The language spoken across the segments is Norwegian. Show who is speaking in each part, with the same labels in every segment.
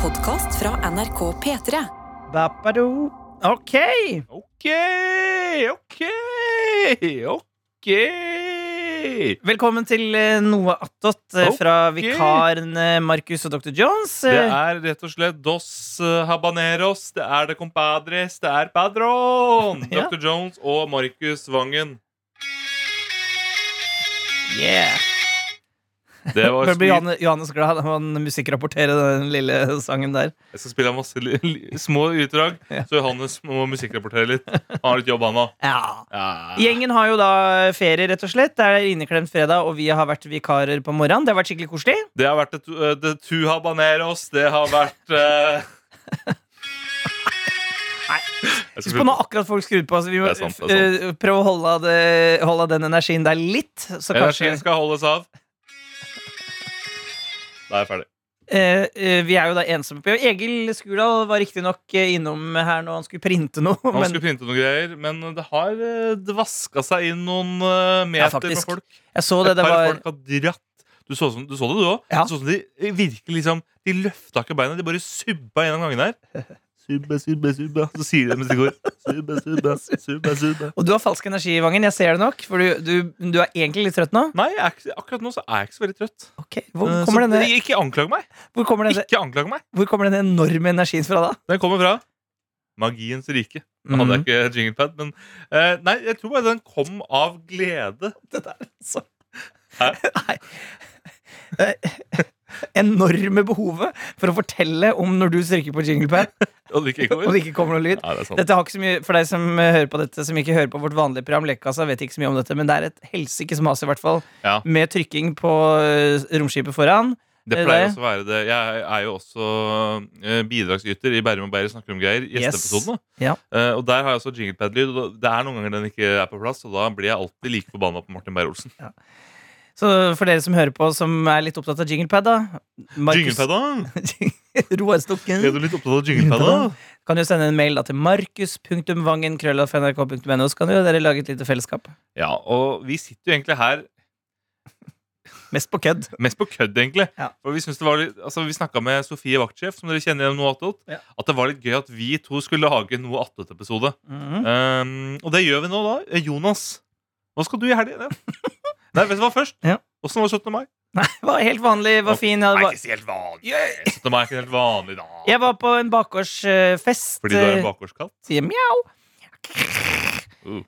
Speaker 1: podkast fra NRK P3.
Speaker 2: Bappado. OK!
Speaker 3: Ok, ok, ok.
Speaker 2: Velkommen til eh, Noe attåt eh,
Speaker 3: Ok.
Speaker 2: fra vikaren eh, Markus og Dr. Jones.
Speaker 3: Det
Speaker 2: Eh,
Speaker 3: er rett og slett Dos eh, Habaneros, det er det Compadres, det er Padron!
Speaker 2: Ja.
Speaker 3: Dr. Jones og Markus Vangen.
Speaker 2: Yeah.
Speaker 3: Det var
Speaker 2: Bør bli
Speaker 3: sweet.
Speaker 2: Johanne- Johannes glad når han musikkrapporterer den lille sangen der.
Speaker 3: Jeg skal spille av masse li li små utdrag,
Speaker 2: Ja.
Speaker 3: så Johannes må musikkrapportere litt. Han har litt jobb, han òg.
Speaker 2: Ja.
Speaker 3: Ja.
Speaker 2: Gjengen har jo da ferie, rett og slett. Det er inneklemt fredag, og vi har vært vikarer på morgenen. Det har vært skikkelig koselig.
Speaker 3: Det har vært et, eh, The Two Habaneros, det har vært eh,
Speaker 2: Nei.
Speaker 3: Jeg
Speaker 2: Husk
Speaker 3: skal
Speaker 2: på nå
Speaker 3: slutte.
Speaker 2: akkurat folk skrur på, så vi må
Speaker 3: Det er sant, det er
Speaker 2: eh, prøve å holde av, det, holde av den energien der litt. Så kanskje
Speaker 3: Energien skal holdes av. Da er jeg ferdig.
Speaker 2: Eh, eh, Vi er jo da ensomme på jobb. Egil Skurdal var riktignok innom her nå han skulle printe noe.
Speaker 3: Han
Speaker 2: Men
Speaker 3: skulle pynte noen greier, men det har eh, dvaska seg inn noen eh, meter
Speaker 2: Ja,
Speaker 3: med
Speaker 2: faktisk.
Speaker 3: folk.
Speaker 2: jeg så det,
Speaker 3: Et
Speaker 2: det
Speaker 3: par
Speaker 2: var
Speaker 3: folk har dratt. Du så, som, du så det, du òg?
Speaker 2: Ja.
Speaker 3: Du så som de virkelig liksom De løfta ikke beina, de bare subba gjennom gangen her. Subba, subba, subba. Så sier de det mens de går. Subba, subba, subba, subba.
Speaker 2: Og du har falsk energi i vangen, jeg ser det nok. For du, du, du er egentlig litt trøtt nå.
Speaker 3: Nei, jeg er ikke, akkurat nå så er jeg ikke så veldig trøtt.
Speaker 2: Ok, Hvor
Speaker 3: Eh,
Speaker 2: kommer
Speaker 3: så
Speaker 2: denne,
Speaker 3: Ikke anklag meg!
Speaker 2: hvor kommer denne,
Speaker 3: Ikke anklag meg!
Speaker 2: hvor kommer denne enorme energien fra da? Mm.
Speaker 3: Den kommer fra magiens rike. Nå hadde
Speaker 2: Mhm.
Speaker 3: jeg ikke jinglepad, men eh, Nei, jeg tror bare den kom av glede.
Speaker 2: Det der, altså.
Speaker 3: Hæ?
Speaker 2: Nei. Det Eh, enorme behovet for å fortelle om når du stryker på jinglepad,
Speaker 3: Og det gikk ikke
Speaker 2: og
Speaker 3: over.
Speaker 2: det ikke kommer noe lyd.
Speaker 3: Ja, det er sant.
Speaker 2: Dette har ikke så mye, For deg som eh, hører på dette Som ikke hører på vårt vanlige program, Lekasa, vet ikke så mye om dette, men det er et helsikes mas, i hvert fall,
Speaker 3: Ja.
Speaker 2: med trykking på eh, romskipet foran.
Speaker 3: Det
Speaker 2: Er det
Speaker 3: pleier
Speaker 2: det?
Speaker 3: også å være det. Jeg er jo også eh, bidragsyter i Bærum og Bærer snakker om greier. i
Speaker 2: Yes.
Speaker 3: Gjesteepisoden. da.
Speaker 2: Ja.
Speaker 3: Eh, og der har jeg også jinglepad-lyd. og da- Det er noen ganger den ikke er på plass, og da blir jeg alltid like forbanna på Martin Beyer-Olsen.
Speaker 2: Så for dere som hører på, som er litt opptatt av jinglepad, da Markus-
Speaker 3: Jinglepada!
Speaker 2: Roar
Speaker 3: Er du
Speaker 2: Stokken.
Speaker 3: litt opptatt av jinglepada?
Speaker 2: Kan jo sende en mail da til markus.vangen.krøllalf.nrk.no, så kan jo dere lage et lite fellesskap.
Speaker 3: Ja, og vi sitter jo egentlig her
Speaker 2: Mest på kødd.
Speaker 3: mest på kødd, egentlig.
Speaker 2: Ja.
Speaker 3: For vi synes det var litt, altså vi snakka med Sofie Vaktsjef, som dere kjenner gjennom Noe attåt,
Speaker 2: Ja.
Speaker 3: at det var litt gøy at vi to skulle lage en Noe attåt-episode.
Speaker 2: Mhm.
Speaker 3: Um, og det gjør vi nå, da. Eh, Jonas, hva skal du i helga? Nei, vet du hva først?
Speaker 2: Ja.
Speaker 3: Åssen var 17. mai?
Speaker 2: Nei, var helt vanlig, var fin. Jeg,
Speaker 3: Nei,
Speaker 2: var,
Speaker 3: ikke så helt vanlig. 17. mai er ikke en helt vanlig dag.
Speaker 2: jeg var på en bakgårdsfest. eh,
Speaker 3: Fordi du er en bakgårdskatt?
Speaker 2: sier mjau.
Speaker 3: Uh,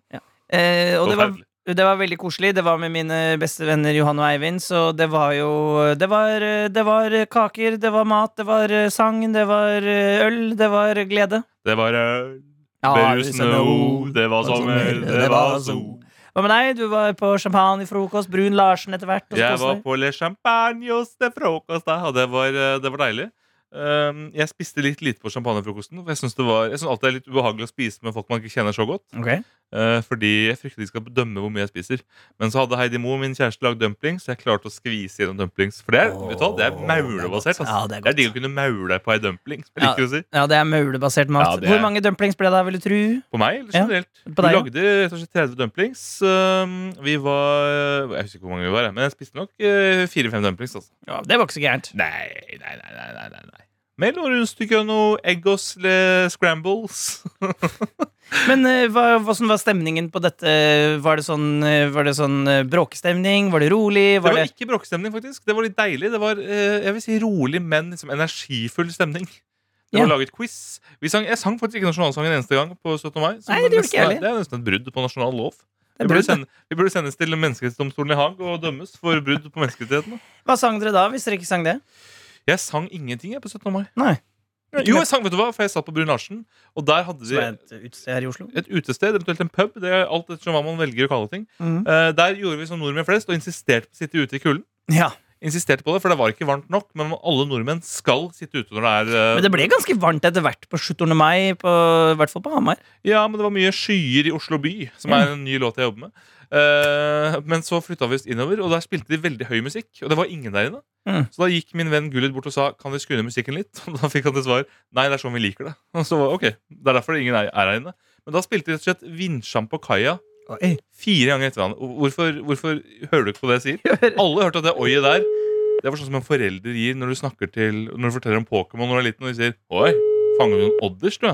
Speaker 2: Eh, og det var,
Speaker 3: forferdelig.
Speaker 2: det var veldig koselig. Det var med mine beste venner Johan og Eivind, så det var jo Det var, eh, det var eh, kaker, det var mat, det var eh, sang, det var eh, øl, det var glede.
Speaker 3: Det var øl,
Speaker 2: Ja,
Speaker 3: berusende ord, det var
Speaker 2: det var
Speaker 3: sommer,
Speaker 2: sommer,
Speaker 3: det
Speaker 2: det
Speaker 3: var
Speaker 2: var
Speaker 3: sol.
Speaker 2: Hva med deg? Du var på champagne i frokost, Brun Larsen etter hvert. og så
Speaker 3: Jeg var
Speaker 2: koselig.
Speaker 3: på Le Champagnos til frokost, da, og det var, eh, det var deilig. Um, jeg spiste litt lite på champagnefrokosten. For jeg syns alltid det er litt ubehagelig å spise med folk man ikke kjenner så godt.
Speaker 2: Ok.
Speaker 3: Eh, fordi jeg frykter de skal dømme hvor mye jeg spiser. Men så hadde Heidi Mo, min kjæreste, lagd dumplings, så jeg klarte å skvise gjennom dumplings. For det er, vet du hva, det er
Speaker 2: Åh,
Speaker 3: maulebasert.
Speaker 2: det er godt.
Speaker 3: Altså.
Speaker 2: Ja, det er
Speaker 3: det er digg å kunne maule på ei dumpling. Som jeg liker å si.
Speaker 2: Ja, det er maulebasert mat.
Speaker 3: Ja, det er-
Speaker 2: Hvor mange dumplings ble det, vil du tro?
Speaker 3: På meg, eller
Speaker 2: Ja,
Speaker 3: generelt.
Speaker 2: på deg,
Speaker 3: vi
Speaker 2: ja.
Speaker 3: lagde rett og slett 30 dumplings. Um, vi var Jeg husker ikke hvor mange vi var, jeg, men jeg spiste nok eh, fire-fem dumplings. Altså.
Speaker 2: det var ikke så gærent.
Speaker 3: Nei, nei, nei, nei, nei, nei, nei. Med noe rundstykke og noe eggos le scrambles.
Speaker 2: Men eh, hva, hvordan var stemningen på dette? Var det sånn, eh, var det sånn eh, bråkestemning? Var det rolig?
Speaker 3: Det
Speaker 2: Var
Speaker 3: var
Speaker 2: det,
Speaker 3: ikke bråkestemning, faktisk. Det var litt deilig. Det var eh, jeg vil si rolig, men liksom energifull stemning. Det
Speaker 2: Ja.
Speaker 3: var laget quiz. Vi sang, jeg sang faktisk ikke nasjonalsangen en eneste gang på 17. mai. som
Speaker 2: Nei, det gjorde ikke jeg
Speaker 3: nesten,
Speaker 2: heller.
Speaker 3: er- det er nesten et brudd på nasjonal lov.
Speaker 2: Det er
Speaker 3: Vi burde,
Speaker 2: brudd, det.
Speaker 3: sende, vi burde sendes til Menneskerettighetsdomstolen i Haag og dømmes for brudd på menneskerettighetene.
Speaker 2: Hva sang dere da, hvis dere ikke sang det?
Speaker 3: Jeg sang ingenting jeg på 17. mai.
Speaker 2: Nei.
Speaker 3: Jo, jeg sang, vet du hva, for jeg satt på Brun Larsen, og der hadde
Speaker 2: Som
Speaker 3: de
Speaker 2: er et utested her i Oslo?
Speaker 3: et utested, eventuelt en pub. Det er alt ettersom hva man velger å kalle ting.
Speaker 2: Mm.
Speaker 3: Eh, der gjorde vi som nordmenn flest, og insisterte på å sitte ute i kulden.
Speaker 2: Ja.
Speaker 3: insisterte på det, for det var ikke varmt nok. Men alle nordmenn skal sitte ute når det er eh,
Speaker 2: Men det ble ganske varmt etter hvert på 17. mai, på, i hvert fall på Hamar.
Speaker 3: Ja, men det var mye skyer i Oslo by, som
Speaker 2: Mm.
Speaker 3: er en ny låt jeg jobber med. Eh, men så flytta vi oss innover, og der spilte de veldig høy musikk. Og det var ingen der inne.
Speaker 2: Mm.
Speaker 3: Så da gikk min venn Gullit bort og sa Kan vi skru ned musikken litt. Og da fikk han til svar Nei, det er sånn vi liker det. Og så var ok, det er derfor ingen er er her inne. Men da spilte de rett og slett Vinsjam på kaia fire ganger etter hverandre. Og Hvorfor, hvorfor hører du ikke på det jeg sier? Alle hørte at det oiet der Det var sånn som en forelder gir når du snakker til Når du forteller om Pokémon når du er liten, og de sier 'Oi, fanger du noen odders, du?'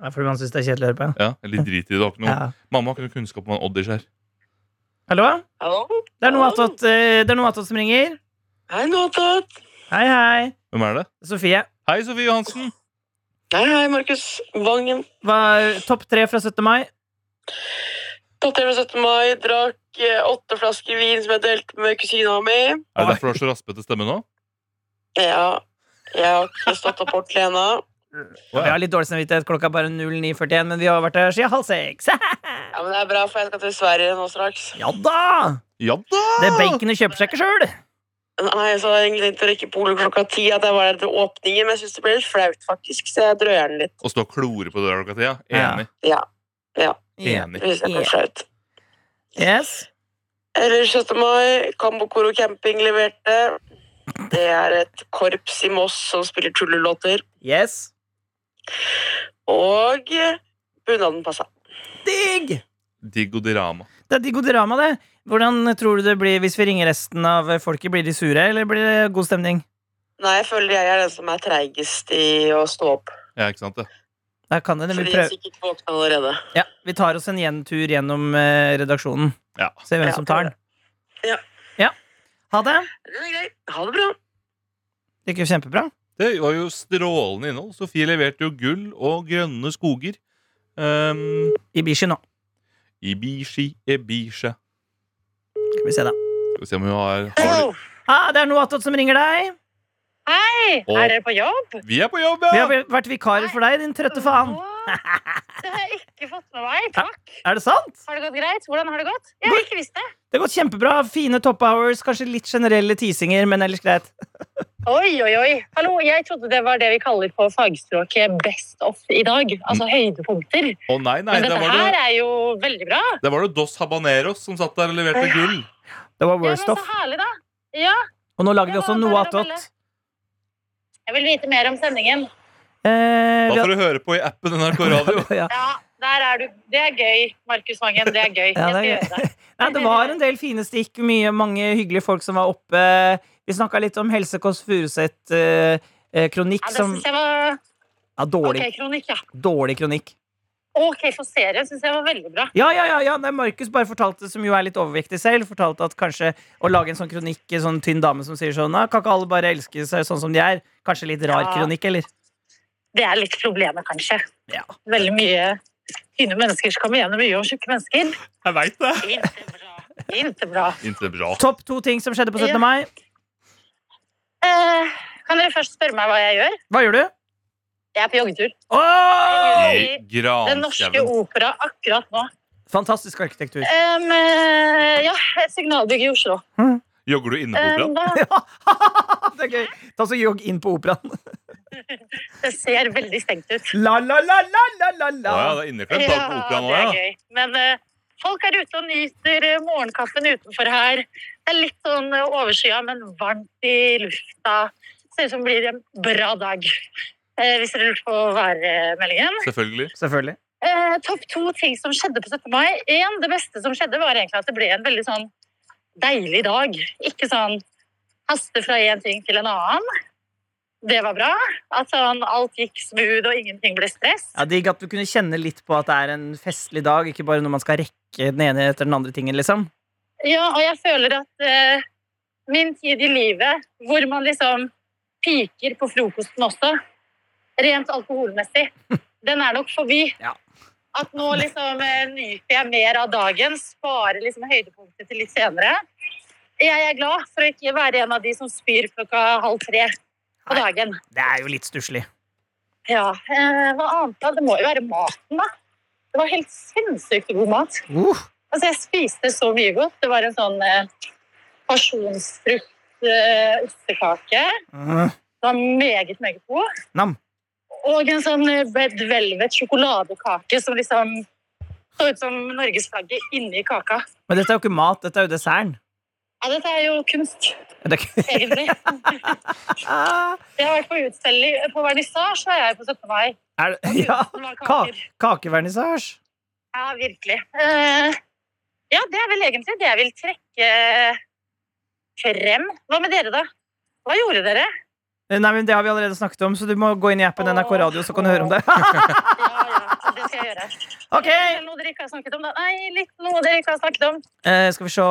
Speaker 2: Ja, fordi man syns det er kjedelig å høre på.
Speaker 3: Ja, eller drit i det. har ikke noe.
Speaker 2: Ja.
Speaker 3: Mamma har ikke noe kunnskap om hva en odders er.
Speaker 2: Hallo?
Speaker 4: Hallo?
Speaker 2: Det er noe attåt eh, det er noe attåt som ringer.
Speaker 4: Hei, Notat.
Speaker 2: Hei, hei.
Speaker 3: Hvem er det?
Speaker 2: Sofie.
Speaker 3: Hei, Sofie Johansen!
Speaker 4: Hei, hei, Markus Vangen.
Speaker 2: Hva er topp tre fra 17. mai?
Speaker 4: Datert 17. mai, drakk eh, åtte flasker vin som jeg delte med kusina mi.
Speaker 3: Er det derfor du har så raspete stemme nå?
Speaker 4: Ja, jeg har ikke stått opp ordentlig ennå.
Speaker 2: Vi har litt dårlig samvittighet, klokka er bare 09.41, men vi har vært her siden halv seks.
Speaker 4: Ja, men det er bra, for jeg skal til Sverige nå straks.
Speaker 2: Ja da!
Speaker 3: Ja da!
Speaker 2: Det baconet kjøper seg ikke sjøl.
Speaker 4: Nei, så har jeg egentlig tenkt å rekke polet klokka ti, at jeg var der til åpningen, men jeg synes det ble litt flaut, faktisk, så jeg drøyer den litt.
Speaker 3: Å stå og klore på døra klokka ti, ja.
Speaker 2: Ja.
Speaker 3: Enig.
Speaker 4: Det
Speaker 3: Enig.
Speaker 4: synes
Speaker 1: Ja.
Speaker 4: jeg ble flaut.
Speaker 2: Yes.
Speaker 4: Ellers 17. mai, Kambokoro Camping leverte. Det er et korps i Moss som spiller tullelåter,
Speaker 2: Yes.
Speaker 4: og eh, bunaden passet.
Speaker 2: Digg!
Speaker 3: Digg og drama.
Speaker 2: Det er digg og drama, det. Hvordan tror du det blir hvis vi ringer resten av folket? Blir de sure, eller blir det god stemning?
Speaker 4: Nei, jeg føler jeg er den som er treigest i å stå opp.
Speaker 3: Ja, ikke sant det?
Speaker 2: Da kan det, vi,
Speaker 4: Fordi jeg er
Speaker 2: prøver.
Speaker 4: sikkert våkna allerede.
Speaker 2: Ja, vi tar oss en gjentur gjennom eh, redaksjonen.
Speaker 3: Ja.
Speaker 2: Se hvem
Speaker 4: Ja,
Speaker 2: som tar den.
Speaker 4: ja.
Speaker 2: Ja. Ha det.
Speaker 4: Det er greit. Ha det bra.
Speaker 2: Det gikk jo kjempebra.
Speaker 3: Det var jo strålende innhold. Sofie leverte jo gull og grønne skoger. Um,
Speaker 2: Ibishi nå.
Speaker 3: Ibishi, Ebisha.
Speaker 2: Skal vi se, da.
Speaker 3: Skal vi se om hun har, har litt-
Speaker 2: Ah, det er Noatot som ringer deg.
Speaker 5: Hei!
Speaker 3: Og-
Speaker 5: Er dere på jobb?
Speaker 3: Vi er på jobb,
Speaker 2: Vi
Speaker 3: ja!
Speaker 2: har vært vikarer for deg, din trøtte faen.
Speaker 5: Hva? Det har jeg ikke fått med meg. Takk.
Speaker 2: Er det sant?
Speaker 5: Har det gått greit? Hvordan har det gått? Jeg har ikke visst det.
Speaker 2: Det har gått kjempebra. Fine top hours, kanskje litt generelle teasinger, men ellers greit.
Speaker 5: Oi, oi, oi. Hallo, jeg trodde det var det vi kaller på fagspråket best off i dag. Altså høydepunkter.
Speaker 3: Å nei, nei,
Speaker 5: Men
Speaker 3: der
Speaker 5: dette
Speaker 3: var,
Speaker 5: her
Speaker 3: det,
Speaker 5: er jo veldig bra.
Speaker 3: der var det Dos Habaneros som satt der og leverte gull.
Speaker 2: Det var
Speaker 5: Ja, men
Speaker 2: worst
Speaker 5: så
Speaker 2: off.
Speaker 5: herlig, da. Ja,
Speaker 2: Og nå lager vi
Speaker 5: Ja,
Speaker 2: også
Speaker 5: det er
Speaker 2: noe
Speaker 5: bare å
Speaker 2: attåt.
Speaker 5: jeg vil vite mer om sendingen.
Speaker 2: Eh,
Speaker 3: Da
Speaker 2: vi har-
Speaker 3: får du høre på i appen NRK Radio.
Speaker 2: ja.
Speaker 5: Ja, der er du. Det er gøy, Markus Vangen. Det er gøy.
Speaker 2: Ja, det er
Speaker 5: Jeg skal gjøre det.
Speaker 2: Nei, det var en del fine stikk. Mye, mange hyggelige folk som var oppe. Vi snakka litt om Helse Kåss Furuseth. eh, eh, Kronikk
Speaker 5: Ja, det
Speaker 2: som
Speaker 5: synes jeg var...
Speaker 2: ja,
Speaker 5: Ok,
Speaker 2: dårlig,
Speaker 5: kronikk, ja.
Speaker 2: dårlig kronikk.
Speaker 5: Ok, for serien synes jeg var veldig bra.
Speaker 2: Ja, ja, ja, ja. Nei, Markus bare fortalte, som jo er litt overvektig selv, fortalte at kanskje å lage en sånn kronikk, en sånn tynn dame som sier sånn «Nei, Kan ikke alle bare elske seg sånn som de er? Kanskje litt rar
Speaker 5: Ja.
Speaker 2: kronikk, eller?
Speaker 5: det er litt problemet, kanskje.
Speaker 2: Ja.
Speaker 5: Veldig mye tynne mennesker som kommer gjennom mye om tjukke mennesker.
Speaker 3: Jeg veit det.
Speaker 5: Ikke bra. Ikke bra.
Speaker 3: Ikke bra.
Speaker 2: Topp to ting som skjedde på 17.
Speaker 5: Ja.
Speaker 2: mai.
Speaker 5: Eh, kan dere først spørre meg hva jeg gjør?
Speaker 2: Hva gjør du?
Speaker 5: Jeg er på joggetur.
Speaker 2: Åh!
Speaker 3: I Ah,
Speaker 5: Den norske
Speaker 3: granskauen.
Speaker 5: opera akkurat nå.
Speaker 2: Fantastisk arkitektur.
Speaker 5: Em, eh, ja, et signalbygg i Oslo.
Speaker 3: Jogger du inne på
Speaker 5: Em,
Speaker 3: operaen?
Speaker 5: da,
Speaker 2: det er gøy. Ta så jogg inn på operaen.
Speaker 5: det ser veldig stengt ut.
Speaker 2: La, la, la, la, la, la,
Speaker 3: Å ja,
Speaker 2: la.
Speaker 3: det er inneklemt bak på operaen
Speaker 5: Eh, det er
Speaker 3: òg, ja.
Speaker 5: gøy. Men eh, folk er ute og nyter eh, morgenkaffen utenfor her. Det er litt sånn eh, overskya, men varmt i lufta. Ser ut som det blir en bra dag. Eh, hvis dere lurte på eh, værmeldingen.
Speaker 3: Selvfølgelig.
Speaker 2: Selvfølgelig.
Speaker 5: Eh, topp to ting som skjedde på 17. mai. En, det beste som skjedde, var egentlig at det ble en veldig sånn deilig dag. Ikke sånn haste fra én ting til en annen. Det var bra. At sånn, alt gikk smooth og ingenting ble stress.
Speaker 2: Ja, Digg at du kunne kjenne litt på at det er en festlig dag, ikke bare når man skal rekke den ene etter den andre tingen, liksom.
Speaker 5: Ja, og jeg føler at eh, min tid i livet, hvor man liksom piker på frokosten også, rent alkoholmessig, den er nok forbi.
Speaker 2: Ja.
Speaker 5: At nå liksom eh, nyter jeg mer av dagen, sparer liksom høydepunktet til litt senere. Jeg er glad for å ikke være en av de som spyr klokka halv tre på
Speaker 2: Nei.
Speaker 5: dagen.
Speaker 2: Det er jo litt stusslig.
Speaker 5: Ja, eh, hva annet da? Det må jo være maten, da. Det var helt sinnssykt god mat.
Speaker 2: Uh,
Speaker 5: Altså, jeg spiste så mye godt. Det var en sånn eh, pasjonsfrukt eh, ostekake.
Speaker 2: uh,
Speaker 5: Det var meget, meget god.
Speaker 2: nam.
Speaker 5: Og en sånn eh, red velvet sjokoladekake som liksom så ut som norgesflagget inni kaka.
Speaker 2: Men dette er jo ikke mat, dette er jo desserten.
Speaker 5: Ja, dette er jo kunst,
Speaker 2: Det er ikke...
Speaker 5: egentlig.
Speaker 2: Ah,
Speaker 5: Jeg har vært på utstilling på vernissasje, og jeg er på 17. mai.
Speaker 2: er det... Ja,
Speaker 5: Det var
Speaker 2: ka
Speaker 5: kaker.
Speaker 2: kakevernissasje.
Speaker 5: Ja, virkelig. Eh, ja, det er vel egentlig det jeg vil trekke frem. eh, Hva med dere, da? Hva gjorde dere?
Speaker 2: Eh, Nei, men Det har vi allerede snakket om, så du må gå inn i appen NRK Radio, så kan du høre om det.
Speaker 5: Ja, ja, det skal jeg gjøre.
Speaker 2: Ok.
Speaker 5: Er det Noe dere ikke har snakket om, da? Nei, litt noe dere ikke har snakket om.
Speaker 2: Eh, skal vi se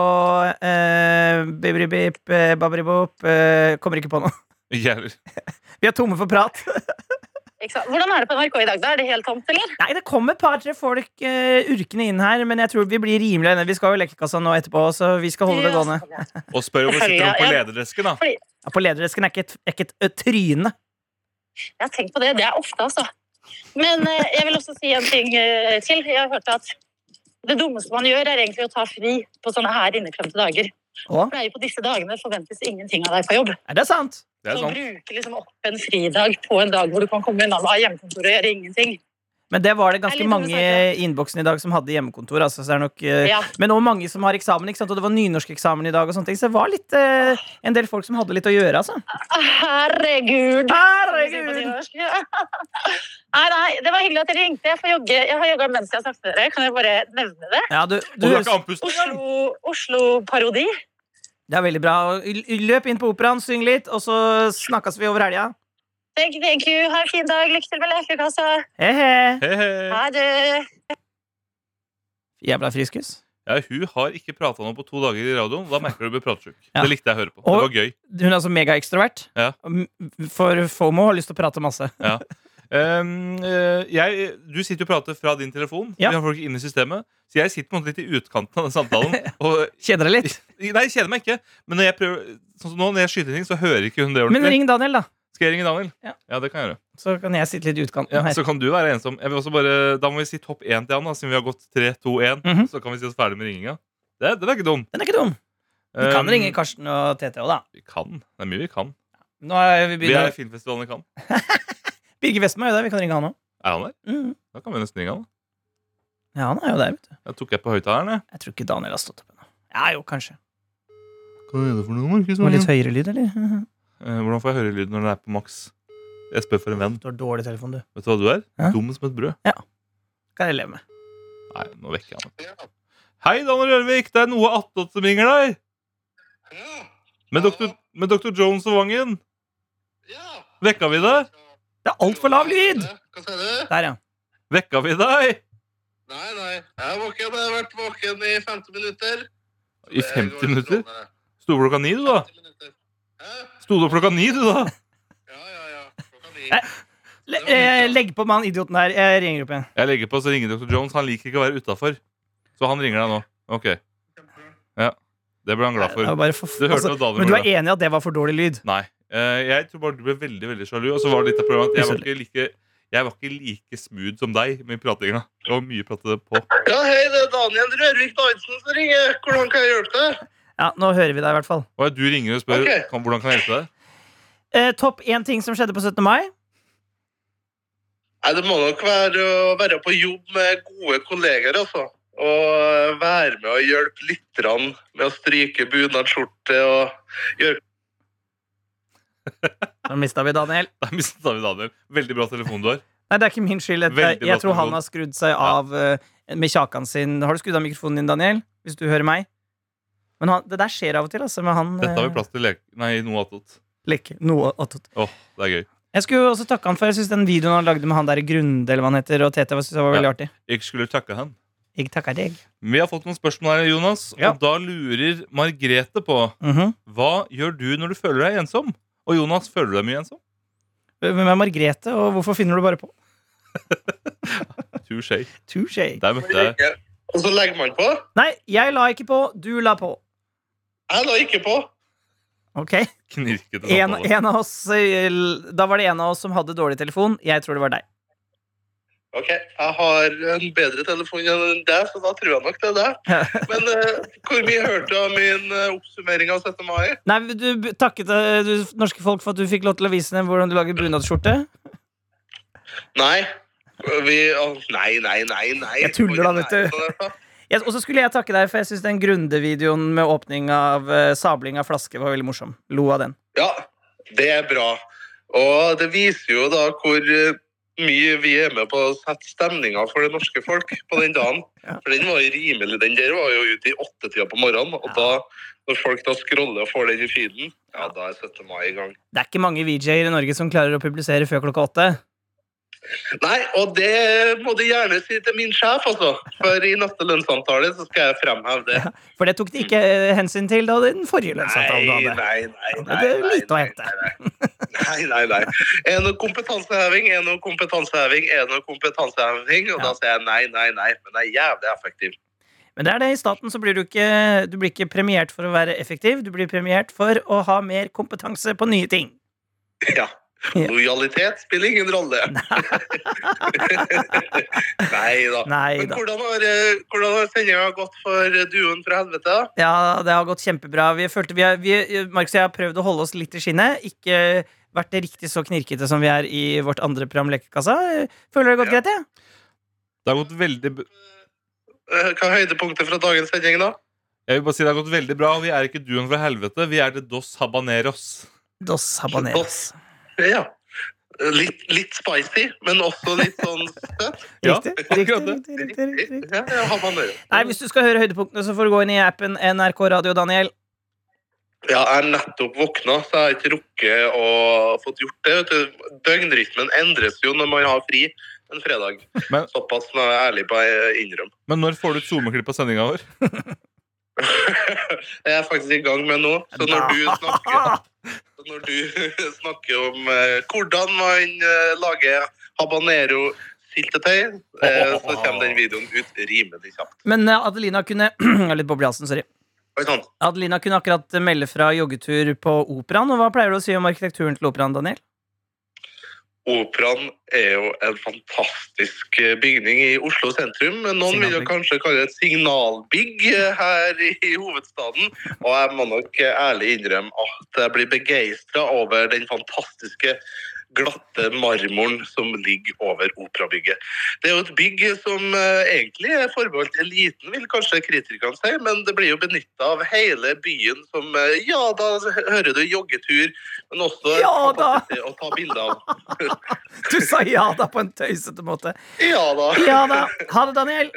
Speaker 2: eh, Bibribip, eh, babribop eh, Kommer ikke på noe.
Speaker 3: Ikke heller.
Speaker 2: Vi er tomme for prat.
Speaker 5: Ikke sant? Hvordan er det på NRK i dag? da? Er det helt tomt, eller?
Speaker 2: Nei, det kommer et par-tre folk eh, urkende inn her, men jeg tror vi blir rimelig enige. Vi skal jo i lekekassa nå etterpå, så vi skal holde det gående.
Speaker 5: Ja.
Speaker 3: Og spør om hun sitter hun på
Speaker 5: Ja, ja.
Speaker 3: lederdesken, da.
Speaker 2: Ja, på lederdesken er ikke et, er ikke et ø, tryne.
Speaker 5: Jeg har tenkt på det. Det er ofte, altså. Men eh, jeg vil også si en ting eh, til. Jeg har hørt at det dummeste man gjør, er egentlig å ta fri på sånne her inneklemte dager.
Speaker 2: Å,
Speaker 5: For det er jo på disse dagene forventes ingenting av deg på jobb.
Speaker 2: er det sant?
Speaker 3: Det er
Speaker 5: Så å
Speaker 3: sant.
Speaker 5: bruke liksom opp en fridag på en dag hvor du kan komme unna med hjemmekontor og gjøre ingenting.
Speaker 2: Men det var det
Speaker 5: Det
Speaker 2: ganske
Speaker 5: er litt
Speaker 2: mange
Speaker 5: dumme
Speaker 2: i innboksen i dag som hadde hjemmekontor. Altså, så det er nok, eh,
Speaker 5: Ja.
Speaker 2: Men også mange som har eksamen, ikke sant? og det var nynorskeksamen i dag. Og sånne ting, så det var litt, eh, en del folk som hadde litt å gjøre. Altså.
Speaker 5: Herregud!
Speaker 2: Herregud!
Speaker 5: Nei, nei, det var hyggelig at dere ringte. Jeg får jogge. Jeg har jogga mens jeg har snakket med dere. Kan jeg bare nevne det?
Speaker 2: Ja, du,
Speaker 3: Og
Speaker 2: du,
Speaker 3: du har ikke andpusten engang!
Speaker 5: Oslo- Oslo-parodi.
Speaker 2: det er veldig bra. Og l- Løp inn på operaen, syng litt, og så snakkes vi over helga.
Speaker 5: thank, thank you. Ha en fin dag. Lykke til med lekekassa.
Speaker 2: He -he.
Speaker 3: Hei, hei.
Speaker 5: Ha det.
Speaker 2: Jævla friskus.
Speaker 3: Ja, hun har ikke prata noe på to dager i radioen. Da merker du du blir pratsjuk.
Speaker 2: Ja.
Speaker 3: Det likte jeg å høre på. Det
Speaker 2: Og-
Speaker 3: var gøy.
Speaker 2: Hun er altså megaekstrovert.
Speaker 3: Ja.
Speaker 2: M- For FOMO har lyst til å prate masse.
Speaker 3: Um, eh, jeg, du sitter og prater fra din telefon.
Speaker 2: Ja.
Speaker 3: Vi har folk inne i systemet. Så jeg sitter på en måte litt i utkanten av den samtalen. Og,
Speaker 2: Kjeder deg litt.
Speaker 3: nei, jeg kjeder meg ikke. Men når jeg prøver, sånn som nå, når jeg skyter ting, så hører ikke hun det
Speaker 2: Men
Speaker 3: ordentlig.
Speaker 2: ring Daniel, da.
Speaker 3: Skal jeg ringe Daniel?
Speaker 2: Ja.
Speaker 3: det kan jeg gjøre.
Speaker 2: Så kan jeg sitte litt i utkanten
Speaker 3: Ja,
Speaker 2: her.
Speaker 3: så kan du være ensom. Jeg vil også bare, da må vi si topp én til han, da, siden vi har gått 3, 2, 1.
Speaker 2: Mhm.
Speaker 3: Så kan vi si oss ferdig med ringinga. Det, den er ikke dum.
Speaker 2: Den er ikke dum. Du kan
Speaker 3: Um,
Speaker 2: ringe Karsten og TT òg, da.
Speaker 3: Vi kan. Det er mye vi kan.
Speaker 2: Nå er vi
Speaker 3: Vi er
Speaker 2: begynner.
Speaker 3: filmfestivalen i Cannes.
Speaker 2: Birger Westmo er jo der. Vi kan ringe han òg.
Speaker 3: Er han der?
Speaker 2: Mm.
Speaker 3: Da kan vi nesten ringe han. da.
Speaker 2: Ja, han er jo der, vet du.
Speaker 3: Jeg tok jeg på høyttaleren, jeg.
Speaker 2: Jeg tror ikke Daniel har stått opp ennå. Ja, jo, kanskje.
Speaker 3: Hva er det for noe, Markus?
Speaker 2: Det var litt høyere lyd, eller?
Speaker 3: Eh, Hvordan får jeg høre lyden når den er på maks? Jeg spør for en venn.
Speaker 2: Du har dårlig telefon, du.
Speaker 3: Vet du hva du er?
Speaker 2: Hæ?
Speaker 3: Dum som et brød.
Speaker 2: Kan jeg leve med.
Speaker 3: Nei, nå vekker jeg han. Hei, Daniel Rørvik. Det er Noe Attåt som ringer deg.
Speaker 6: Ja.
Speaker 3: Med doktor, med doktor Jones og Vangen.
Speaker 6: ja.
Speaker 3: Vekka vi deg?
Speaker 2: Det er altfor lav lyd!
Speaker 6: Hva sier du?
Speaker 2: Der, ja.
Speaker 3: Vekka vi deg?
Speaker 6: Nei, nei. Jeg er våken. Jeg har vært våken i 50 minutter.
Speaker 3: I 50 minutter?
Speaker 6: Det går strålende.
Speaker 3: Sto du klokka ni, du, da?
Speaker 6: 50 minutter. Hæ?
Speaker 3: Sto du opp klokka ni, du, da?
Speaker 6: Ja, ja, ja. Klokka ni.
Speaker 2: Nei. Le eh, legg på med han idioten der. Jeg ringer opp igjen.
Speaker 3: Jeg legger på, så ringer doktor Jones. Han liker ikke å være utafor. Så han ringer deg nå. Ok. Ja. Det ble han glad
Speaker 2: Det
Speaker 3: for.
Speaker 2: var bare for
Speaker 3: Du hørte
Speaker 2: altså,
Speaker 3: hva Daniel
Speaker 2: men du er
Speaker 3: gjorde.
Speaker 2: enig i at det var for dårlig lyd?
Speaker 3: Nei. Eh, jeg tror bare du ble veldig veldig sjalu. Og så var det litt av problemet at jeg var ikke like jeg var ikke like smooth som deg med pratinga. Det var mye prat på.
Speaker 6: Ja, hei, det er Daniel Rørvik Davidsen som ringer. Hvordan kan jeg hjelpe deg?
Speaker 2: Ja, Nå hører vi deg, i hvert fall.
Speaker 3: Og du ringer og spør
Speaker 6: Ok.
Speaker 3: kan, hvordan kan jeg hjelpe deg.
Speaker 2: Eh, topp én ting som skjedde på 17. mai.
Speaker 6: Nei, det må nok være å være på jobb med gode kolleger, altså. Og være med og hjelpe litt grann med å stryke bunadsskjorte og
Speaker 2: Da mista vi Daniel.
Speaker 3: Der mistet vi Daniel. Veldig bra telefon du har.
Speaker 2: Nei, det er ikke min skyld. Dette.
Speaker 3: Veldig bra
Speaker 2: Jeg tror han
Speaker 3: spørsmål.
Speaker 2: har skrudd seg av eh, med kjakan sin. Har du skrudd av mikrofonen din, Daniel? Hvis du hører meg? Men han, det der skjer av og til, altså. Med han
Speaker 3: Dette har vi
Speaker 2: eh,
Speaker 3: plass til lek... Nei, noe attåt.
Speaker 2: lek- noe attåt.
Speaker 3: Åh, det er gøy.
Speaker 2: Jeg skulle jo også takke han for Jeg synes den videoen han lagde med han der i Grunde eller hva han heter, og TT, var, synes jeg var veldig
Speaker 3: Ja.
Speaker 2: artig.
Speaker 3: Jeg skulle takke han.
Speaker 2: Jeg takker deg.
Speaker 3: Vi har fått noen spørsmål her, Jonas.
Speaker 2: Ja.
Speaker 3: Og da lurer Margrete på
Speaker 2: Mhm.
Speaker 3: hva gjør du når du føler deg ensom. Og Jonas, føler du deg mye ensom?
Speaker 2: Hvem er Margrethe, og hvorfor finner du bare på?
Speaker 3: Touché.
Speaker 2: Touché.
Speaker 3: Der møtte jeg
Speaker 6: Og så legger man på.
Speaker 2: Nei, jeg la ikke på, du la på.
Speaker 6: Jeg la ikke på.
Speaker 2: Ok?
Speaker 3: knirkete
Speaker 2: En,
Speaker 3: samtale.
Speaker 2: en av oss eh, l- Da var det en av oss som hadde dårlig telefon. Jeg tror det var deg.
Speaker 6: Ok, jeg har en bedre telefon enn deg, så da tror jeg nok det er deg. Men eh, hvor mye hørte du av min eh, oppsummering av 17. mai?
Speaker 2: Nei, men du b- takket eh, du, norske folk for at du fikk lov til å vise dem hvordan du lager bunadsskjorte.
Speaker 6: Nei. Vi, å, nei, nei, nei, nei.
Speaker 2: Jeg tuller da, vet du. Jeg- Og så skulle jeg takke deg, for jeg syns den Grunde-videoen med åpning av eh, sabling av flaske var veldig morsom. Lo av den.
Speaker 6: Ja, det er bra. Og det viser jo da hvor eh, mye vi er med på å sette stemninga for det norske folk på den dagen.
Speaker 2: Ja.
Speaker 6: For den var jo rimelig, den der var jo ute i åttetida på morgenen. Og da, når folk da scroller og får den i feeden, ja, da er 17. mai i gang.
Speaker 2: Det er ikke mange VJ-er i Norge som klarer å publisere før klokka åtte.
Speaker 6: Nei, og det må du gjerne si til min sjef, altså. For i neste lønnssamtale så skal jeg fremheve det.
Speaker 2: For det tok de ikke eh, hensyn til da i den forrige
Speaker 6: Nei,
Speaker 2: lønnsavtalen du hadde.
Speaker 6: nei, nei.
Speaker 2: Ja,
Speaker 6: nei,
Speaker 2: det er
Speaker 6: nei,
Speaker 2: lite å
Speaker 6: nei,
Speaker 2: hente.
Speaker 6: Nei, nei, nei. nei. Er det noe kompetanseheving? Er det noe kompetanseheving? Er det noe kompetanseheving? Og
Speaker 2: Ja.
Speaker 6: da sier jeg nei, nei, nei. Men det er jævlig effektivt.
Speaker 2: Men det er det, i staten så blir du ikke, du blir ikke premiert for å være effektiv, du blir premiert for å ha mer kompetanse på nye ting.
Speaker 6: Ja.
Speaker 2: Ja.
Speaker 6: Lojalitet spiller ingen rolle. nei da.
Speaker 2: Nei
Speaker 6: Men
Speaker 2: da.
Speaker 6: hvordan har, eh, hvordan har sendinga gått for eh, duoen fra helvete?
Speaker 2: Ja, det har gått kjempebra. Vi følte vi, har- vi Markus og jeg har prøvd å holde oss litt i skinnet. Ikke vært riktig så knirkete som vi er i vårt andre program Lekekassa. Føler det gått
Speaker 6: Ja.
Speaker 2: greit, jeg?
Speaker 3: Det har gått veldig b-
Speaker 6: Eh, Hva er høydepunktet fra dagens sending, da?
Speaker 3: Jeg vil bare si det har gått veldig bra, og vi er ikke duoen fra helvete. Vi er det Dos Habaneros.
Speaker 2: Dos habaneros.
Speaker 6: Ja. Litt, litt spicy, men også litt sånn søtt.
Speaker 3: Ja,
Speaker 2: Riktig,
Speaker 3: akkurat
Speaker 2: riktig, riktig,
Speaker 3: det.
Speaker 2: riktig, riktig.
Speaker 6: Ja, ja, habanero.
Speaker 2: Nei, Hvis du skal høre høydepunktene, så får du gå inn i appen NRK Radio, Daniel.
Speaker 6: Ja, jeg er nettopp våkna, så jeg har ikke rukket å fått gjort det. Vet du. Døgnrytmen endres jo når man har fri en fredag.
Speaker 3: Men-
Speaker 6: Såpass må jeg være ærlig på å innrømme.
Speaker 3: Men når får du et SoMe-klipp av sendinga vår?
Speaker 6: Jeg er faktisk i gang med nå. Så når du snakker, så når du snakker om eh, hvordan man eh, lager habanero-syltetøy, eh, så kommer den videoen ut rimelig kjapt.
Speaker 2: Men eh, Adelina kunne Jeg er Litt boble i halsen, sorry.
Speaker 6: Oi, sånn. sant?
Speaker 2: Adelina kunne akkurat eh, melde fra joggetur på operaen. Og hva pleier du å si om arkitekturen til operaen, Daniel?
Speaker 6: Operaen er jo en fantastisk eh, bygning i Oslo sentrum. men Noen vil jo
Speaker 2: Signalbygg.
Speaker 6: kanskje kalle det et signalbygg eh, her i i hovedstaden. Og jeg må nok eh, ærlig innrømme at jeg blir begeistra over den fantastiske glatte marmoren som ligger over operabygget. Det er jo et bygg som eh, egentlig er forbeholdt eliten, vil kanskje kritikerne si, men det blir jo benytta av hele byen som eh, Ja, da hører du joggetur, men også en
Speaker 2: Ja da!
Speaker 6: fantastisk å ta bilde av.
Speaker 2: Du sa ja da på en tøysete måte.
Speaker 6: Ja da.
Speaker 2: Ja da. Ha det, Daniel.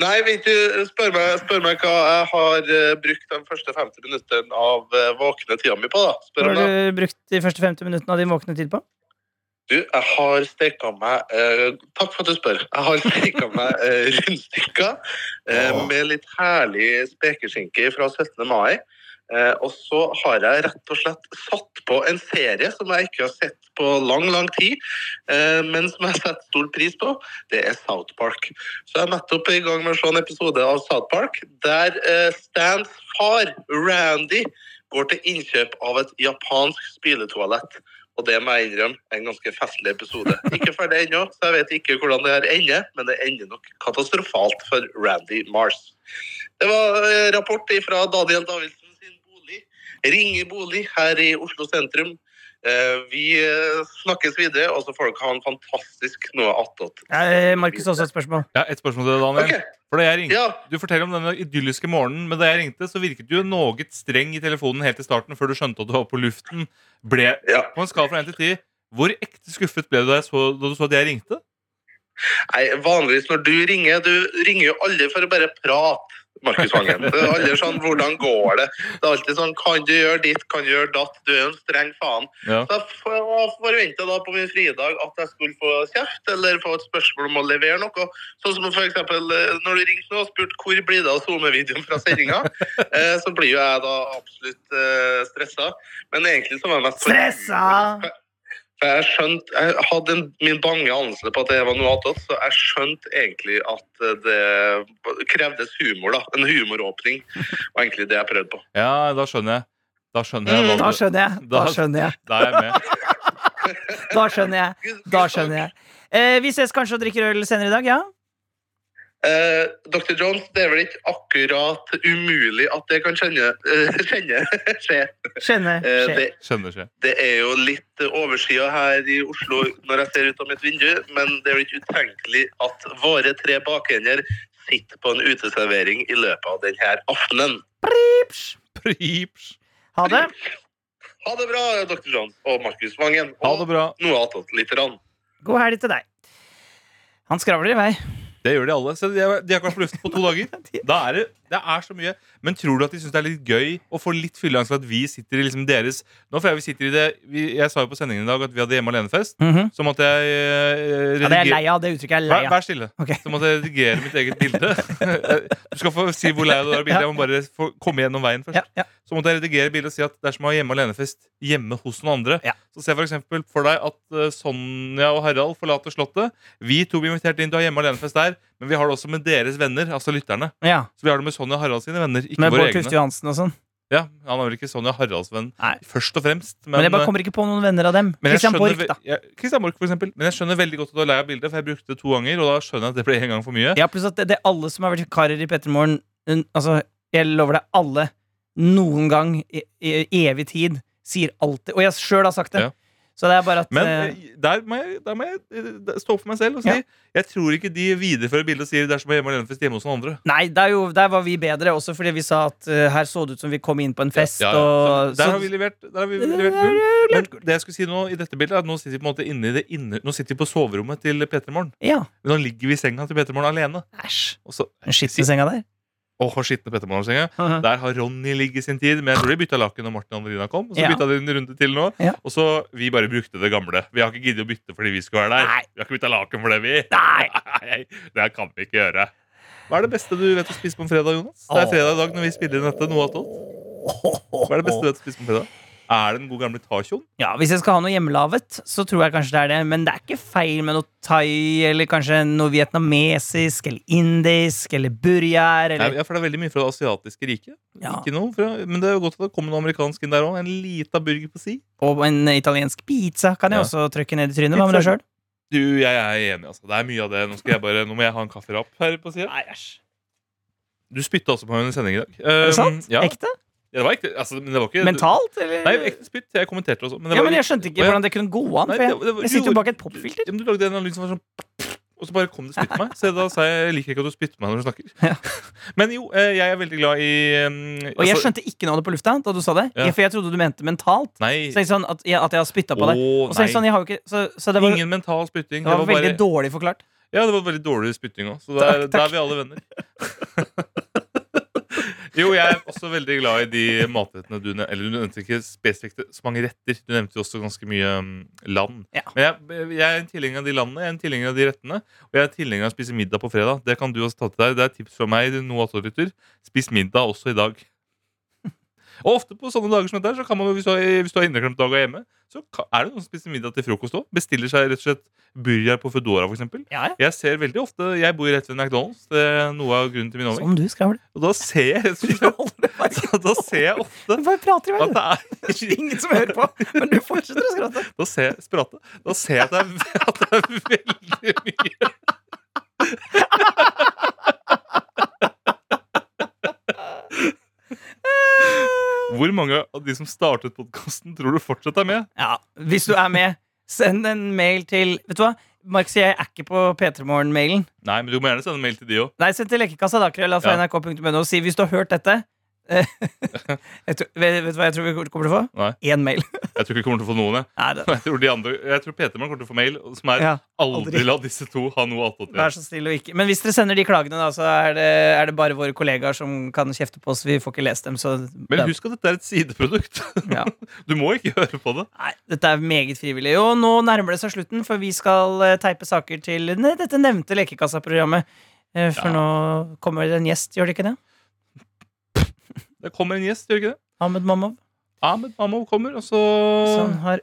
Speaker 6: Nei, vet du, spør meg, spør meg hva jeg har eh, brukt de første 50 minuttene av eh, våkne tida mi på, da.
Speaker 2: Hva
Speaker 6: Spør
Speaker 2: har
Speaker 6: meg.
Speaker 2: du brukt de første 50 minuttene av din våkne tid på?
Speaker 6: Du, jeg har steka meg eh, Takk for at du spør. Jeg har steka meg eh, rundstykker eh, med litt herlig spekeskinke fra 17. mai. Eh, og så har jeg rett og slett satt på en serie som jeg ikke har sett på lang, lang tid, eh, men som jeg setter stor pris på. Det er South Park. Så jeg er nettopp i gang med å se en episode av South Park der eh, Stans far, Randy, går til innkjøp av et japansk spyletoalett. Og det må jeg innrømme er en ganske festlig episode. Ikke ferdig ennå, så jeg vet ikke hvordan det her ender, men det ender nok katastrofalt for Randy Mars. Det var eh, rapport fra Daniel Davidsen sin bolig, Ringe bolig, her i Oslo sentrum. Eh, Vi eh, snakkes videre, og så får dere ha en fantastisk noe attåt.
Speaker 2: Eh, Markus også et spørsmål.
Speaker 3: Ja, et spørsmål til deg, Daniel.
Speaker 6: Ok,
Speaker 3: For da jeg ringte,
Speaker 6: ja.
Speaker 3: Du forteller om denne idylliske morgenen, men da jeg ringte, så virket du jo noe streng i telefonen helt i starten før du skjønte at du var på luften. Ble,
Speaker 6: ja.
Speaker 3: på en skala fra 1 til 10, hvor ekte skuffet ble du da, jeg så, da du så at jeg ringte?
Speaker 6: Nei, vanligvis når du ringer, du ringer jo alle for å bare prate. Markus Vangen. Det er Alle sånn, hvordan går det? Det er alltid sånn, kan du gjøre ditt, kan du gjøre datt? Du er jo en streng faen.
Speaker 3: Ja.
Speaker 6: Så jeg forventa da på min fridag at jeg skulle få kjeft eller få et spørsmål om å levere noe. Sånn som for eksempel eh, når du ringte nå og spurte hvor blir det av SoMe-videoen fra sendinga, eh, så blir jo jeg da absolutt eh, stressa. Men egentlig så var jeg mest
Speaker 2: Stressa!
Speaker 6: For jeg skjønte, jeg hadde en, min bange anelse på at det var noe attåt, så jeg skjønte egentlig at eh, det krevdes humor, da. En humoråpning var egentlig det jeg prøvde på.
Speaker 3: Ja, da skjønner jeg. Da skjønner jeg.
Speaker 2: Mm, Da
Speaker 3: hva du-
Speaker 2: skjønner jeg. Da
Speaker 3: Da-
Speaker 2: skjønner jeg.
Speaker 3: Da er jeg med.
Speaker 2: Da skjønner jeg. Da skjønner jeg. Eh, vi ses kanskje og drikker øl senere i dag, ja?
Speaker 6: Eh, Dr. Jones, det er vel ikke akkurat umulig at det kan kjenne, eh, kjenne skje.
Speaker 2: Skjønner.
Speaker 6: Eh,
Speaker 2: skjer.
Speaker 6: det,
Speaker 3: Skjønner seg.
Speaker 6: det er jo litt overskya her i Oslo når jeg ser ut av mitt vindu, men det er jo ikke utenkelig at våre tre bakender sitter på en uteservering i løpet av denne aftenen.
Speaker 2: Pips.
Speaker 3: Prips.
Speaker 2: Ha det.
Speaker 6: Ha det bra, Dr. Jones og Markus Vangen.
Speaker 3: Ha det bra.
Speaker 6: noe attåt litt. Rann.
Speaker 2: God helg til deg. Han skravler i vei.
Speaker 3: Det gjør de alle. Så de, har- de har ikke vært på luften på to dager. Da er det, det er så mye. Men tror du at de syns det er litt gøy å få litt fylleangst for at vi sitter i liksom deres Nå får jeg, vi sitter i det, vi, jeg sa jo på sendingen i dag at vi hadde hjemme alene-fest.
Speaker 2: Mhm.
Speaker 3: Så måtte jeg
Speaker 2: Ja,
Speaker 3: eh,
Speaker 2: det er jeg
Speaker 3: redigere-
Speaker 2: lei av. Det uttrykket er jeg
Speaker 3: Vær,
Speaker 2: lei av.
Speaker 3: vær stille.
Speaker 2: Ok.
Speaker 3: Så måtte jeg redigere mitt eget bilde. Du skal få si hvor lei du er av bildet. Jeg må bare få komme gjennom veien først.
Speaker 2: Ja, ja.
Speaker 3: Så måtte jeg redigere bildet og si at det er som å ha hjemme alene-fest hjemme hos noen andre.
Speaker 2: Ja.
Speaker 3: Så se for eksempel for deg at eh, Sonja og Harald forlater Slottet. Vi to blir invitert inn til å ha hjemme alene-fest der, men vi har det også med deres venner, altså lytterne.
Speaker 2: ja.
Speaker 3: Så vi har det med Sonja og Harald sine venner, ikke
Speaker 2: Med
Speaker 3: våre
Speaker 2: Bård
Speaker 3: egne.
Speaker 2: Tufte Johansen og sånn.
Speaker 3: Ja, han er vel ikke Sonja og Haralds venn
Speaker 2: Nei.
Speaker 3: først og fremst, men,
Speaker 2: Men jeg bare
Speaker 3: eh,
Speaker 2: kommer ikke på noen venner av dem.
Speaker 3: men jeg
Speaker 2: Christian
Speaker 3: skjønner
Speaker 2: Borch,
Speaker 3: ve-
Speaker 2: da.
Speaker 3: jeg- Christian Borch, for eksempel. Men jeg skjønner veldig godt at du er lei av bildet, for jeg brukte det to ganger, og da skjønner jeg at det ble en gang for mye.
Speaker 2: Ja, pluss at det, det er alle som har vært vikarer i Pettermoren Altså, jeg lover deg, alle noen gang i, i evig tid sier alltid Og jeg sjøl har sagt det.
Speaker 3: Ja.
Speaker 2: Så det er bare at
Speaker 3: Men
Speaker 2: eh,
Speaker 3: eh, der må jeg, der må jeg eh, da- stå opp for meg selv og si
Speaker 2: Ja.
Speaker 3: jeg tror ikke de viderefører bildet og sier det er som å hjemme alene fest hjemme hos noen andre.
Speaker 2: Nei, det er jo, der var vi bedre, også fordi vi sa at eh, her så det ut som vi kom inn på en fest,
Speaker 3: Ja, ja.
Speaker 2: og
Speaker 3: Så, der
Speaker 2: så-
Speaker 3: har vi levert, der har vi levert null. Men det jeg skulle si nå i dette bildet, er at nå sitter vi på en måte inne i det inne, Nå sitter vi på soverommet til Peter Morgen.
Speaker 2: Ja.
Speaker 3: Men nå ligger vi i senga til Peter Morgen alene.
Speaker 2: Æsj.
Speaker 3: Og så,
Speaker 2: Den skitne senga der.
Speaker 3: åh, skitne Peter Morgen-senga. Der har Ronny ligget sin tid, men jeg tror de bytta laken når Martin og Adelina kom. Og så
Speaker 2: Ja.
Speaker 3: bytta de en runde til nå.
Speaker 2: Ja.
Speaker 3: Og så vi bare brukte det gamle. Vi har ikke giddet å bytte fordi vi skulle være der.
Speaker 2: Nei.
Speaker 3: Vi har ikke bytta laken for det, vi.
Speaker 2: Nei!
Speaker 3: Nei, det kan vi ikke gjøre. Hva er det beste du vet å spise på en fredag, Jonas? Det er fredag i dag når vi spiller inn dette. Noe attåt. Hva er det beste du vet å spise på en fredag? Er det den gode gamle tacoen?
Speaker 2: Ja, Hvis jeg skal ha noe hjemmelaget, så tror jeg kanskje det er det. Men det er ikke feil med noe thai, eller kanskje noe vietnamesisk, eller indisk, eller burjar,
Speaker 3: Nei,
Speaker 2: eller
Speaker 3: Ja, for det er veldig mye fra det asiatiske riket.
Speaker 2: ja.
Speaker 3: Ikke noe fra, men det er jo godt at det kommer noe amerikansk inn der òg. En lita burger på si.
Speaker 2: Og en italiensk pizza kan jeg
Speaker 3: Ja.
Speaker 2: også trykke ned i trynet. Hva med deg
Speaker 3: Pizza.
Speaker 2: sjøl?
Speaker 3: Du, jeg er enig, altså. Det er mye av det. Nå, skal jeg bare, nå må jeg ha en kafferapp her på sida. Du spytta også på meg under sending i dag. Ehm,
Speaker 2: Er det sant?
Speaker 3: Ja,
Speaker 2: Ekte?
Speaker 3: Ja, det var ekte. Altså, men det var ikke
Speaker 2: Mentalt, eller?
Speaker 3: Nei, ekte spytt. Jeg kommenterte det også. Men det
Speaker 2: ja,
Speaker 3: var
Speaker 2: men jeg skjønte
Speaker 3: Å,
Speaker 2: ikke
Speaker 3: ja.
Speaker 2: hvordan det kunne gå an,
Speaker 3: Nei,
Speaker 2: for
Speaker 3: det-
Speaker 2: jeg,
Speaker 3: det var-
Speaker 2: jeg sitter
Speaker 3: gjorde-
Speaker 2: jo bak et popfilter.
Speaker 3: Ja, men du lagde en lyd som var sånn og så bare kom det spytt på meg. Så da sa jeg jeg liker ikke at du spytter på meg når du snakker.
Speaker 2: Ja.
Speaker 3: Men jo, eh, jeg er veldig glad i um,
Speaker 2: Og jeg skjønte ikke noe av det på lufta da du sa det.
Speaker 3: Ja.
Speaker 2: Jeg- For jeg trodde du mente mentalt.
Speaker 3: Nei.
Speaker 2: Så jeg, sånn at, jeg, at jeg har spytta på deg.
Speaker 3: Å,
Speaker 2: Og så, er jeg
Speaker 3: nei.
Speaker 2: sånn, jeg har jo ikke, så, så det var,
Speaker 3: Ingen mental
Speaker 2: det
Speaker 3: spytting.
Speaker 2: var veldig
Speaker 3: bare,
Speaker 2: dårlig forklart.
Speaker 3: ja, det var veldig dårlig spytting òg, så
Speaker 2: Takk,
Speaker 3: der, der
Speaker 2: takk.
Speaker 3: er vi alle venner. jo, jeg er også veldig glad i de matrettene du nevnte. Eller du nevnte ikke spesifikt så mange retter. Du nevnte jo også ganske mye um, land.
Speaker 2: Ja.
Speaker 3: Men jeg, jeg er en tilhenger av de landene, jeg er en tilhenger av de rettene. Og jeg er tilhenger av å spise middag på fredag. Det kan du også ta til deg. Det er tips fra meg, noe av lytter. Spis middag også i dag. Og ofte på sånne dager som dette, her, så kan man jo, hvis du har, hvis du har inneklemt dag og er hjemme, så ka- er det noen som spiser middag til frokost òg. Bestiller seg rett og slett burger på Foodora, for eksempel
Speaker 2: Ja, ja.
Speaker 3: Jeg ser veldig ofte Jeg bor rett ved McDonald's. Det er noe av grunnen til min overvekt.
Speaker 2: Som du skravler.
Speaker 3: Og da ser jeg rett og slett så Da ser jeg ofte
Speaker 2: Du bare prater i vei, du.
Speaker 3: at det er
Speaker 2: Ingen som hører på, men du fortsetter å skrate.
Speaker 3: Da ser jeg, sprate, da ser jeg at, det er, at det er veldig mye Hvor mange av de som startet podkasten, tror du fortsatt er med?
Speaker 2: Ja, Hvis du er med, send en mail til Vet du hva? Mark sier jeg er ikke på P3morgen-mailen.
Speaker 3: Nei, men du må gjerne sende mail til de òg.
Speaker 2: Nei, send til lekekassa da, krølla fra
Speaker 3: Ja.
Speaker 2: nrk.no og si hvis du har hørt dette eh, jeg tror, vet, vet du hva jeg tror vi kommer til å få?
Speaker 3: Nei.
Speaker 2: Én mail.
Speaker 3: Jeg tror ikke vi kommer til å få noen. Jeg,
Speaker 2: Nei, det,
Speaker 3: jeg tror, de andre, jeg tror Petermann kommer til å få mail som er
Speaker 2: ja,
Speaker 3: aldri
Speaker 2: aldri.
Speaker 3: la disse to ha noe attåt.
Speaker 2: vær så snill og ikke Men hvis dere sender de klagene, da, så er det, er det bare våre kollegaer som kan kjefte på oss. Vi får ikke lest dem, så
Speaker 3: Men husk at dette er et sideprodukt.
Speaker 2: Ja.
Speaker 3: Du må ikke høre på det.
Speaker 2: Nei, dette er meget frivillig. Og nå nærmer det seg slutten, for vi skal eh, teipe saker til ne- dette nevnte Lekekassa-programmet. Eh, For
Speaker 3: Ja.
Speaker 2: nå kommer det en gjest, gjør det ikke det?
Speaker 3: Det kommer en gjest, gjør det ikke det?
Speaker 2: Ahmed Mamov,
Speaker 3: Ahmed Mamov kommer, og så
Speaker 2: som har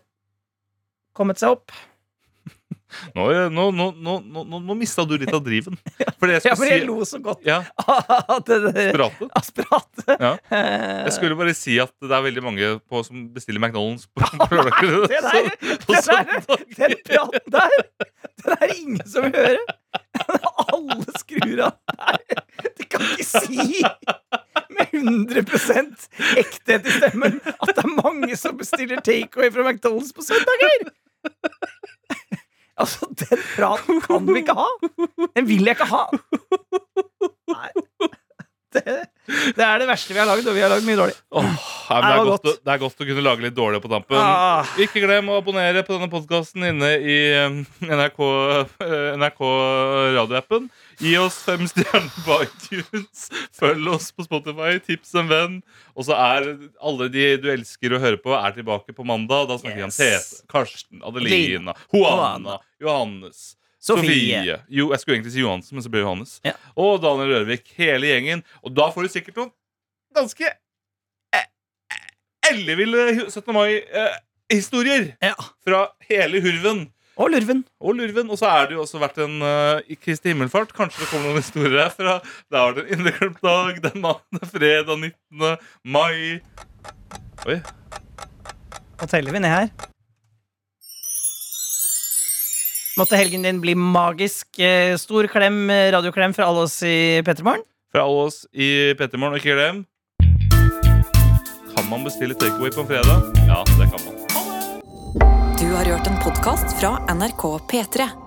Speaker 2: kommet seg opp.
Speaker 3: Nå, nå, nå, nå, nå, nå, nå mista du litt av driven. Fordi jeg
Speaker 2: Ja, for
Speaker 3: skulle
Speaker 2: jeg
Speaker 3: si
Speaker 2: lo så godt
Speaker 3: ja,
Speaker 2: av det der
Speaker 3: prate.
Speaker 2: aspiratet.
Speaker 3: Ja.
Speaker 2: Eh,
Speaker 3: Jeg skulle bare si at det er veldig mange på, som bestiller McDonald's på, på lørdager.
Speaker 2: det der-
Speaker 3: Så- på sånn-
Speaker 2: det der-
Speaker 3: søndager.
Speaker 2: Den praten der, den er det ingen som vil høre. Alle skrur av. Nei, det kan ikke si med 100 ekthet i stemmen at det er mange som bestiller takeaway fra McDonald's på søndager! Altså, den praten kan vi ikke ha! Den vil jeg ikke ha! Nei. Det, det er det verste vi har lagd, og vi har lagd mye dårlig.
Speaker 3: Åh, Nei, men det,
Speaker 2: Det
Speaker 3: er
Speaker 2: var
Speaker 3: godt.
Speaker 2: godt.
Speaker 3: å- det er godt å kunne lage litt dårlig på tampen.
Speaker 2: Ah.
Speaker 3: Ikke glem å abonnere på denne podkasten inne i eh, NRK, eh, NRK radioappen. Gi oss fem stjerner på iTunes. Følg oss på Spotify. Tips en venn. Og så er alle de du elsker å høre på, er tilbake på mandag. Da snakker vi om
Speaker 2: Yes.
Speaker 3: Tete, Karsten, Adelina, Juana, Johannes.
Speaker 2: Sofie.
Speaker 3: Jo, jeg skulle egentlig si Johansen, men så ble det Johannes.
Speaker 2: Ja.
Speaker 3: Og Daniel Rørvik. Hele gjengen. Og da får du sikkert noen ganske eh, elleville eh, hu- 17. mai-historier
Speaker 2: Ja.
Speaker 3: fra hele Hurven
Speaker 2: Og Lurven.
Speaker 3: og Lurven. Og så er det jo også vært en eh, i Kristi himmelfart. Kanskje det kommer noen historier herfra. Da var det en inneklemt dag. Det er mandag, fredag 19. mai. Oi.
Speaker 2: Nå teller vi ned her. Måtte helgen din bli magisk. Eh, Stor klem, eh, radioklem fra alle oss i Pettermorgen.
Speaker 3: Fra alle oss i Pettermorgen. Og ikke glem Kan man bestille takeaway på en fredag? Ja, det kan man.
Speaker 1: Du har hørt en podkast fra NRK P3.